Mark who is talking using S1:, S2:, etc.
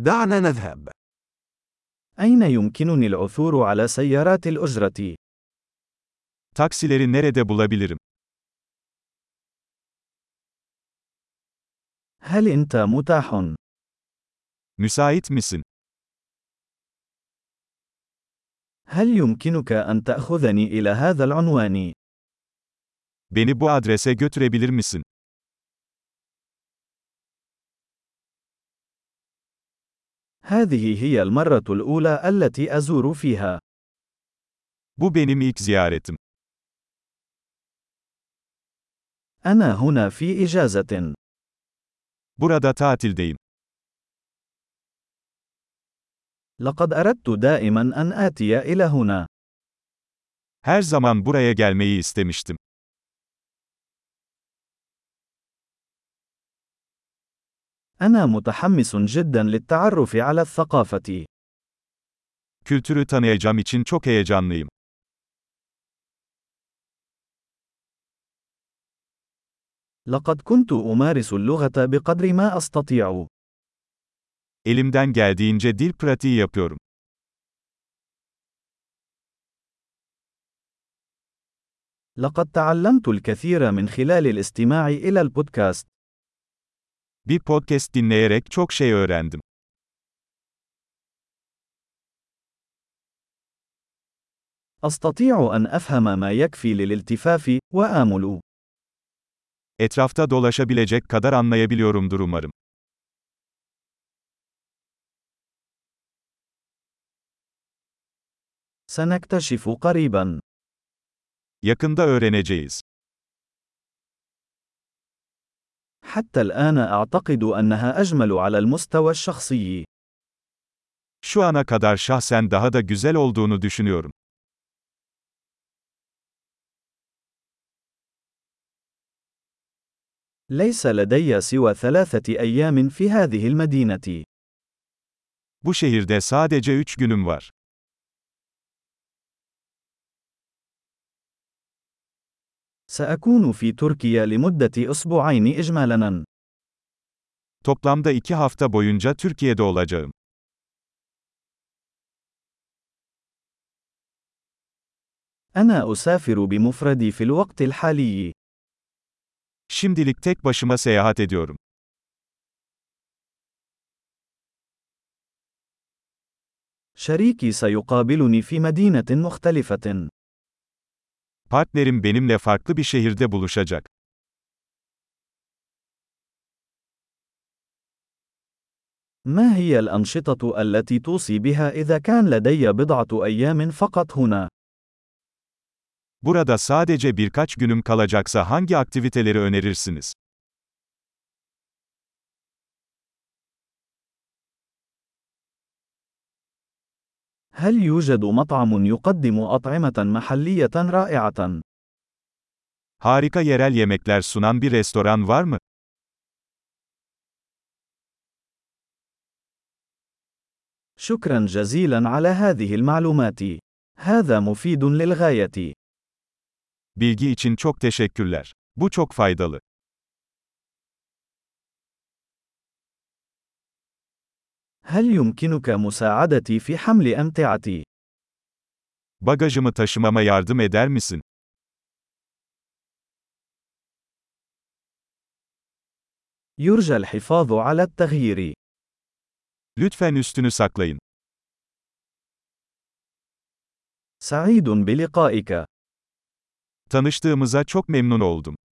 S1: دعنا نذهب.
S2: أين يمكنني العثور على سيارات الأجرة؟
S3: Taksileri nerede bulabilirim?
S2: هل أنت متاح؟
S3: Müsait misin?
S2: هل يمكنك أن تأخذني إلى هذا العنوان؟
S3: Beni bu adrese götürebilir misin?
S2: هذه هي المرة الأولى التي أزور فيها.
S3: Bu benim ilk ziyaretim.
S2: أنا هنا في إجازة.
S3: Burada tatildeyim.
S2: لقد أردت دائما أن آتي إلى هنا.
S3: Her zaman buraya gelmeyi istemiştim.
S2: أنا متحمس جدا للتعرف على الثقافة.
S3: Kültürü tanıyacağım için çok heyecanlıyım.
S2: لقد كنت أمارس اللغة بقدر ما أستطيع.
S3: Elimden geldiğince dil pratiği yapıyorum.
S2: لقد تعلمت الكثير من خلال الاستماع إلى البودكاست.
S3: Bir podcast dinleyerek çok şey öğrendim.
S2: أستطيع أن أفهم ما يكفي للالتفاف وآمل.
S3: Etrafta dolaşabilecek kadar anlayabiliyorumdur umarım.
S2: سنكتشف قريبا.
S3: Yakında öğreneceğiz.
S2: حتى الآن أعتقد أنها أجمل على المستوى الشخصي.
S3: Şu ana kadar şahsen daha da güzel olduğunu düşünüyorum.
S2: ليس لدي سوى ثلاثة أيام في هذه المدينة.
S3: Bu şehirde sadece 3 günüm var.
S2: سأكون في تركيا لمدة أسبوعين إجمالاً.
S3: Toplamda 2 hafta boyunca Türkiye'de olacağım.
S2: أنا أسافر بمفردي في الوقت الحالي.
S3: Şimdilik tek başıma seyahat ediyorum.
S2: شريكي سيقابلني في مدينة مختلفة.
S3: Partnerim benimle farklı bir şehirde buluşacak.
S2: ما هي الأنشطة التي توصي بها إذا كان لدي بضعة أيام فقط هنا؟
S3: Burada sadece birkaç günüm kalacaksa hangi aktiviteleri önerirsiniz?
S2: هل يوجد مطعم يقدم أطعمة محلية رائعة؟
S3: Harika yerel yemekler sunan bir restoran var mı?
S2: شكرا جزيلا على هذه المعلومات. هذا مفيد للغاية.
S3: Bilgi için çok teşekkürler. Bu çok faydalı.
S2: هل يمكنك مساعدتي في حمل أمتعتي؟
S3: Bagajımı taşımama yardım eder misin?
S2: يرجى الحفاظ على التغيير.
S3: Lütfen üstünü saklayın.
S2: سعيد بلقائك.
S3: Tanıştığımıza çok memnun oldum.